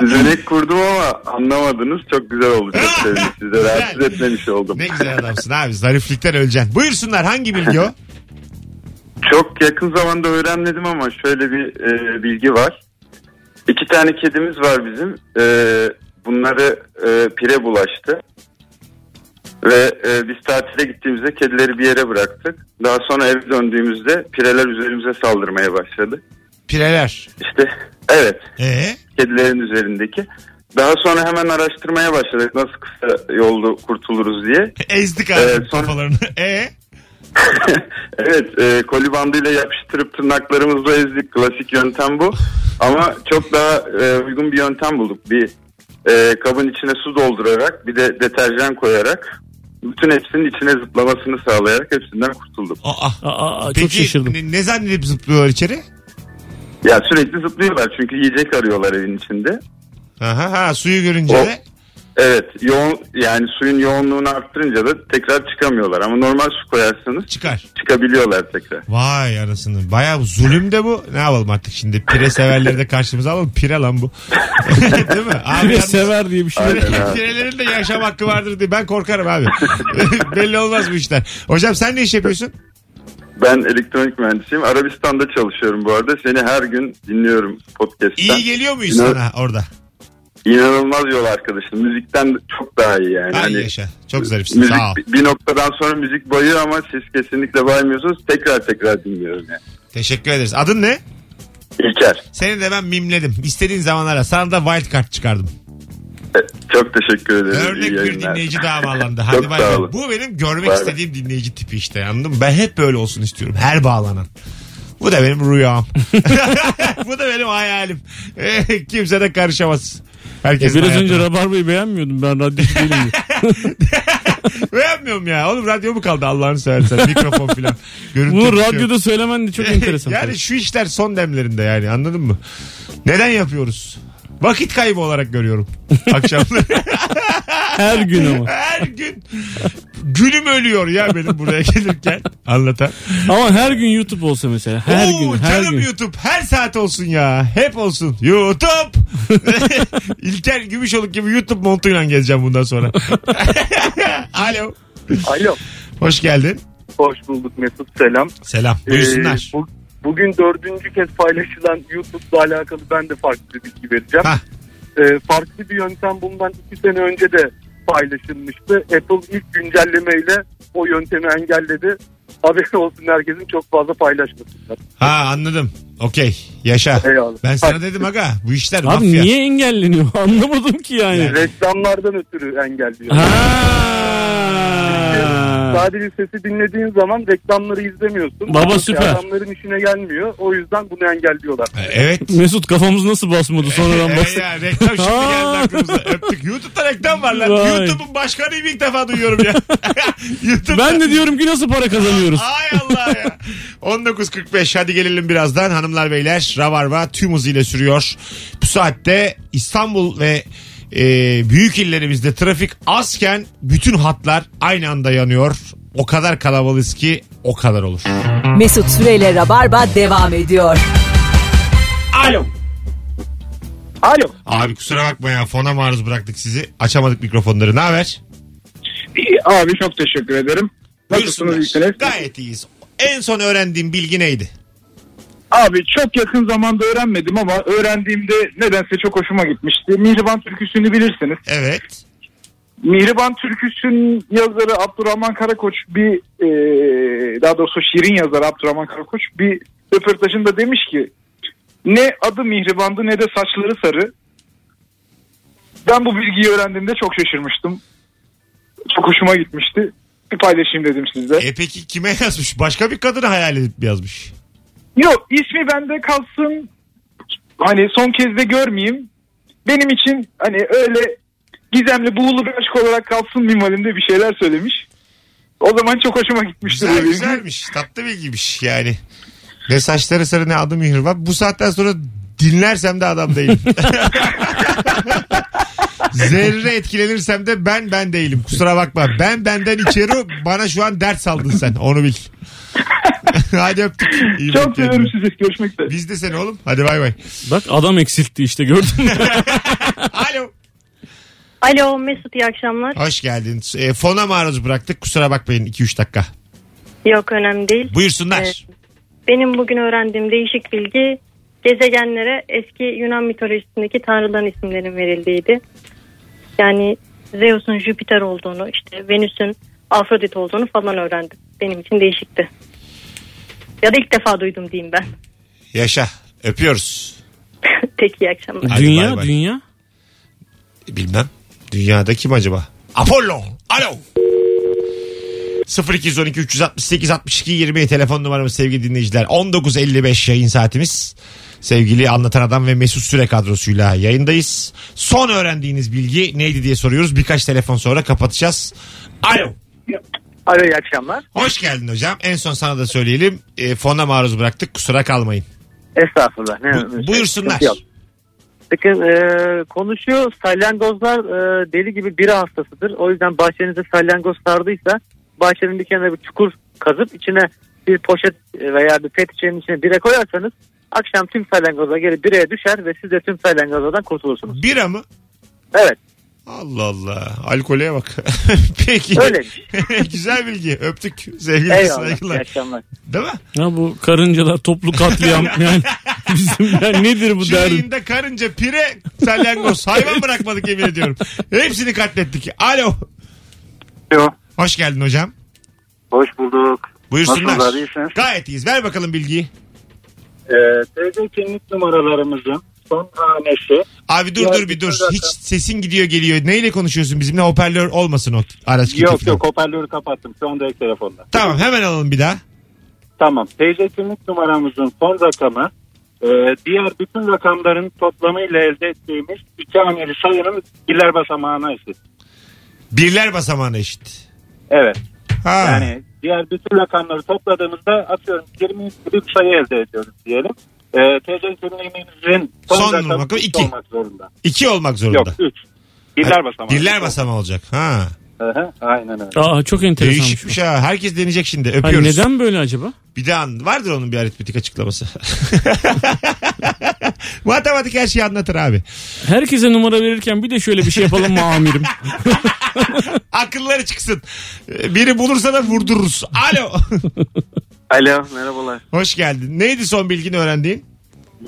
düzenek kurdum ama anlamadınız. Çok güzel oldu. Çok sevindim. Size rahatsız etmemiş oldum.
Ne güzel adamsın abi. Zariflikten öleceksin. Buyursunlar hangi bilgi o?
Çok yakın zamanda öğrenmedim ama şöyle bir e, bilgi var. İki tane kedimiz var bizim. E, bunları e, pire bulaştı. Ve e, biz tatile gittiğimizde kedileri bir yere bıraktık. Daha sonra eve döndüğümüzde pireler üzerimize saldırmaya başladı.
Pireler.
İşte evet
Ee?
kedilerin üzerindeki. Daha sonra hemen araştırmaya başladık nasıl kısa yolda kurtuluruz diye. [laughs]
Ezdik abi
Evet, sonra-
kafalarını. Ee?
evet e, koli bandıyla yapıştırıp tırnaklarımızla ezdik. Klasik yöntem bu. Ama çok daha e, uygun bir yöntem bulduk. Bir e, kabın içine su doldurarak bir de deterjan koyarak bütün hepsinin içine zıplamasını sağlayarak hepsinden kurtulduk.
Aa,
Aa, aa, çok
Peki
şaşırdım.
ne, ne zannedip zıplıyorlar içeri?
Ya sürekli zıplıyorlar çünkü yiyecek arıyorlar evin içinde.
Aha, ha, suyu görünce
O-
de.
Evet yoğun yani suyun yoğunluğunu arttırınca da tekrar çıkamıyorlar ama normal su koyarsanız
Çıkar.
çıkabiliyorlar tekrar.
Vay anasını. Bayağı zulüm de bu. Ne yapalım artık şimdi? Pire severleri de karşımıza alalım. Pire lan bu. [laughs] Değil mi? Abi
Biri
yalnız-
sever diye bir şey.
Aynen abi.
Pirelerin de yaşam hakkı vardır diye. Ben korkarım abi. [laughs] Belli olmaz bu işler. Hocam sen ne iş yapıyorsun?
Ben elektronik mühendisiyim. Arabistan'da çalışıyorum bu arada. Seni her gün dinliyorum podcast'ten.
İyi geliyor muyuz
İnan-
sana orada?
İnanılmaz yol arkadaşım. Müzikten çok daha iyi yani.
Ay
Hani
yaşa. Çok zarifsin.
müzik
Sağ ol.
bir noktadan sonra müzik bayıyor ama siz kesinlikle baymıyorsunuz. Tekrar tekrar dinliyorum yani.
Teşekkür ederiz. Adın ne?
İlker.
Seni de ben mimledim. İstediğin zaman ara. Sana da wildcard çıkardım.
e, Çok teşekkür ederim.
Örnek
İyi
bir
Ee, yayınlar.
dinleyici
[laughs]
daha bağlandı. Hadi
çok
bay
sağ
bay.
olun.
Bu benim görmek
Bay bay.
istediğim dinleyici tipi işte anladın mı? Ben hep böyle olsun istiyorum. Her bağlanan. Bu da benim
[laughs]
rüyam. [laughs] Bu da benim hayalim. [laughs] Kimse de karışamaz. Herkes
Biraz önce rabarbayı beğenmiyordum ben radyocu değilim
[laughs]
diye.
Beğenmiyorum ya. Oğlum radyo mu kaldı Allah'ını
[laughs]
seversen? Mikrofon filan. Görüntü
Bunu
bir şey yok. [laughs]
radyoda söylemen de çok enteresan.
yani
tabii.
şu işler son demlerinde yani anladın mı? Neden yapıyoruz? Vakit kaybı olarak görüyorum.
[laughs]
Akşamları.
Her gün ama.
Her gün gülüm ölüyor ya benim buraya gelirken. Anlatan.
Ama her gün YouTube olsa mesela. Her
Oo,
gün her
canım
gün.
YouTube her saat olsun ya. Hep olsun. YouTube. [laughs] İlker Gümüşoluk gibi YouTube montuyla gezeceğim bundan sonra. [laughs] Alo.
Alo.
Hoş geldin.
Hoş bulduk Mesut selam.
Selam.
Ee,
Buyursunlar.
bu- bugün dördüncü kez paylaşılan YouTube'la alakalı ben de farklı bir bilgi vereceğim.
Hah.
Ee, farklı bir yöntem bundan iki sene önce de paylaşılmıştı. Apple ilk güncellemeyle o yöntemi engelledi. Haber olsun herkesin çok fazla paylaşmasınlar.
Ha anladım. Okey. Yaşa.
Eyvallah.
Ben sana
Hadi.
dedim aga bu işler
Abi
mafya.
niye engelleniyor? [laughs] Anlamadım ki yani.
Reklamlardan ötürü engelliyor.
Ha.
Sadece sesi dinlediğin zaman reklamları izlemiyorsun.
Baba
Yani
süper.
Adamların işine gelmiyor. O yüzden bunu engelliyorlar.
Evet.
Mesut kafamız nasıl basmadı sonradan
Ee,
bastık.
[laughs] ya,
[laughs]
reklam şimdi geldi
Aa.
aklımıza. Öptük. YouTube'da reklam var lan.
Vay.
YouTube'un başkanıyım ilk defa duyuyorum ya. [laughs] YouTube'da.
ben de diyorum ki nasıl para kazanıyoruz?
Ay Allah ya. 19.45 hadi gelelim birazdan hanımlar beyler. Ravarva tüm hızıyla sürüyor. Bu saatte İstanbul ve e, büyük illerimizde trafik azken bütün hatlar aynı anda yanıyor. O kadar kalabalığız ki o kadar olur.
Mesut Süreyle Rabarba devam ediyor.
Alo.
Alo.
Abi kusura bakma ya fona maruz bıraktık sizi. Açamadık mikrofonları. Ne haber?
İyi, Abi çok teşekkür ederim. Nasılsınız
Buyursunlar.
iyisiniz?
Gayet iyiyiz. En son öğrendiğin bilgi neydi?
Abi çok yakın zamanda öğrenmedim ama öğrendiğimde nedense çok hoşuma gitmişti. Mihriban türküsünü bilirsiniz.
Evet.
Mihriban türküsünün yazarı Abdurrahman Karakoç bir e, daha doğrusu şiirin yazarı Abdurrahman Karakoç bir röportajında demiş ki ne adı Mihriban'dı ne de saçları sarı. Ben bu bilgiyi öğrendiğimde çok şaşırmıştım. Çok hoşuma gitmişti. Bir paylaşayım dedim sizle.
E peki kime yazmış? Başka bir kadını hayal edip yazmış.
Yok ismi bende kalsın. Hani son kez de görmeyeyim. Benim için hani öyle gizemli buğulu bir aşk olarak kalsın minvalinde bir şeyler söylemiş. O zaman çok hoşuma gitmişti. bu
Güzel
bilgi.
güzelmiş. Tatlı bilgiymiş yani. Ne saçları sarı ne adı mühürvan. Bu saatten sonra dinlersem de adam değilim. Zerre etkilenirsem de ben ben değilim. Kusura bakma. Ben benden içeri bana şu an dert saldın sen. Onu bil. Hadi öptük. İyi bak
Çok
kendine.
seviyorum sizi. Görüşmek üzere.
Biz de seni oğlum. Hadi bay bay.
Bak adam eksiltti işte gördün mü?
Alo.
Alo Mesut iyi akşamlar.
Hoş geldin. E, fona maruz bıraktık. Kusura bakmayın 2-3 dakika.
Yok önemli değil.
Buyursunlar.
Evet. Benim bugün öğrendiğim değişik bilgi gezegenlere eski Yunan mitolojisindeki tanrıların isimlerinin verildiğiydi. Yani Zeus'un Jüpiter olduğunu, işte Venüs'ün Afrodit olduğunu falan öğrendim. Benim için değişikti. Ya da ilk defa duydum diyeyim ben. [laughs]
Yaşa. Öpüyoruz.
Peki iyi
[laughs]
akşamlar.
Hadi
dünya
bay bay.
dünya.
Bilmem. Dünyada kim acaba? Apollo. Alo. 0212 368 62 20 telefon numaramız sevgili dinleyiciler. 19.55 yayın saatimiz. Sevgili Anlatan Adam ve Mesut Süre kadrosuyla yayındayız. Son öğrendiğiniz bilgi neydi diye soruyoruz. Birkaç telefon sonra kapatacağız. Alo.
Alo iyi akşamlar.
Hoş geldin hocam. En son sana da söyleyelim. E, fona maruz bıraktık. Kusura kalmayın.
Estağfurullah. Ne,
Bu- buyursunlar.
sıkıntı yok. Bakın e, konuşuyor salyangozlar e, deli gibi bira hastasıdır. O yüzden bahçenize salyangoz sardıysa bahçenin bir kenarına bir çukur kazıp içine bir poşet e, veya bir pet şişenin içine bira koyarsanız akşam tüm salyangozlar geri biraya düşer ve siz de tüm salyangozlardan kurtulursunuz.
Bira mı?
Evet.
Allah Allah. Alkoleye bak. [laughs] Peki.
Öyleymiş.
[laughs] Güzel bilgi. Öptük. Sevgili
Eyvallah. İyi
saygılar.
akşamlar.
Değil mi?
Ya bu karıncalar toplu
[laughs]
katliam yani bizim yani nedir bu
Şu
derdin?
yayında karınca, pire, salyangoz. Hayvan bırakmadık yemin ediyorum. Hepsini katlettik. Alo.
Alo.
Hoş geldin hocam.
Hoş bulduk.
Buyursunlar.
Nasılsınız, iyisiniz?
Gayet iyiyiz. Ver bakalım bilgiyi.
Ee, TC kimlik numaralarımızın son hanesi.
Abi dur
Ya,
dur bir dur.
zaten-
Hiç sesin gidiyor geliyor. Neyle konuşuyorsun bizimle? Hoparlör olmasın o araç
Yok
keyfine.
yok hoparlörü kapattım. Şu anda ek telefonda.
Tamam hemen alalım bir daha.
Tamam. TC kimlik numaramızın son rakamı e, diğer bütün rakamların toplamıyla elde ettiğimiz iki haneli sayının birler basamağına eşit.
Birler basamağına eşit.
Evet.
Ha.
Yani diğer bütün rakamları topladığımızda atıyorum 20 gibi bir sayı elde ediyoruz diyelim. E, TC kimliğimizin son,
Son
rakamı
rakamı
üç
iki.
olmak zorunda.
İki olmak zorunda.
Yok 3. Birler basamağı.
Birler basamağı olacak. Ha.
Hı hı, Aynen öyle.
Aa çok enteresanmış. bu.
Değişikmiş ha. Herkes deneyecek şimdi.
Hani
Öpüyoruz.
neden böyle acaba?
Bir de an, vardır onun bir aritmetik açıklaması. [laughs] Matematik her şeyi anlatır abi.
Herkese numara verirken bir de şöyle bir şey yapalım mı
[laughs]
amirim?
Akılları çıksın. Ee, Biri bulursa da vurdururuz. Alo. [laughs]
Alo merhabalar.
Hoş geldin. Neydi son bilgini öğrendiğin?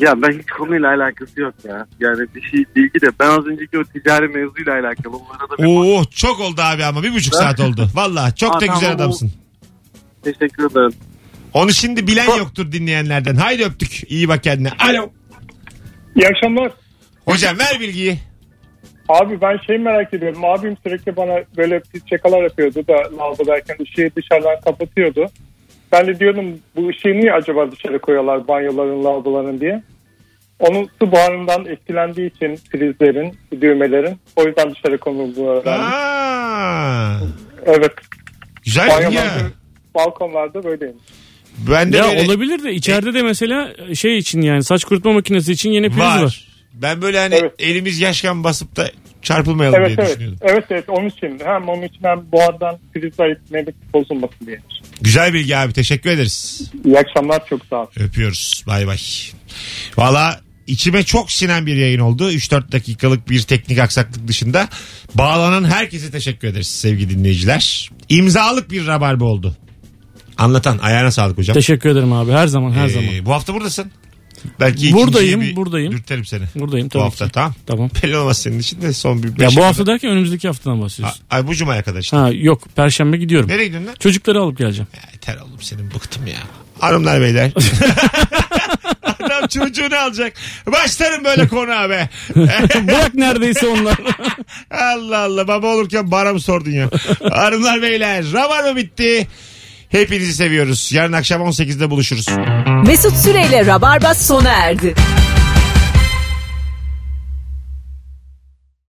Ya ben hiç konuyla alakası yok ya. Yani bir şey bilgi de ben az önceki o ticari mevzuyla alakalı. Onlara da
Oo çok oldu abi ama bir buçuk saat oldu. Valla çok da
Aa,
güzel
tamam,
adamsın.
teşekkür ederim.
Onu şimdi bilen yoktur dinleyenlerden. Haydi öptük. İyi bak kendine. Alo.
İyi akşamlar.
Hocam ver bilgiyi.
Abi ben şey merak ediyorum. Abim sürekli bana böyle pis şakalar yapıyordu da lavabodayken ışığı dışarıdan kapatıyordu. Ben de diyordum bu ışığı niye acaba dışarı koyuyorlar banyoların lavaboların diye. Onun su buharından etkilendiği için prizlerin, düğmelerin o yüzden dışarı konulduğunu öğrendim.
Aa,
Evet.
güzel ya.
Banyolarda, balkonlarda böyleymiş.
Ben de
Ya
böyle-
olabilir de içeride de mesela şey için yani saç kurutma makinesi için yeni priz var.
var. Ben böyle hani
Evet.
elimiz yaşken basıp da çarpılmayalım
Evet
diye
evet.
düşünüyordum.
Evet evet onun için. Hem onun için hem buhardan prizler etmelik bozulmasın diye.
Güzel bilgi abi teşekkür ederiz.
İyi akşamlar çok sağ ol.
Öpüyoruz bay bay. Valla içime çok sinen bir yayın oldu. 3-4 dakikalık bir teknik aksaklık dışında. Bağlanan herkese teşekkür ederiz sevgili dinleyiciler. İmzalık bir rabarba oldu. Anlatan ayağına sağlık hocam.
Teşekkür ederim abi her zaman her
Ee,
zaman.
Bu hafta buradasın. Belki ikinciyi
Buradayım,
bir
buradayım.
Dürterim seni.
Buradayım
bu
tabii
hafta
ki.
tamam.
Tamam.
Belli olmaz senin için de son bir beş
Ya bu
yılda-
hafta derken önümüzdeki haftadan
A-
bahsediyorsun.
Ay bu cumaya kadar işte.
Ha yok perşembe gidiyorum.
Nereye gidiyorsun lan?
Çocukları alıp geleceğim. [laughs]
Yeter oğlum senin bıktım ya. Hanımlar beyler. Adam çocuğunu alacak. Başlarım böyle konu be.
Bırak neredeyse onlar.
[laughs] Allah Allah baba olurken bana mı sordun ya? Hanımlar beyler rabar mı bitti? Hepinizi seviyoruz. Yarın akşam 18'de buluşuruz.
Mesut Süreyle Rabarba sona erdi.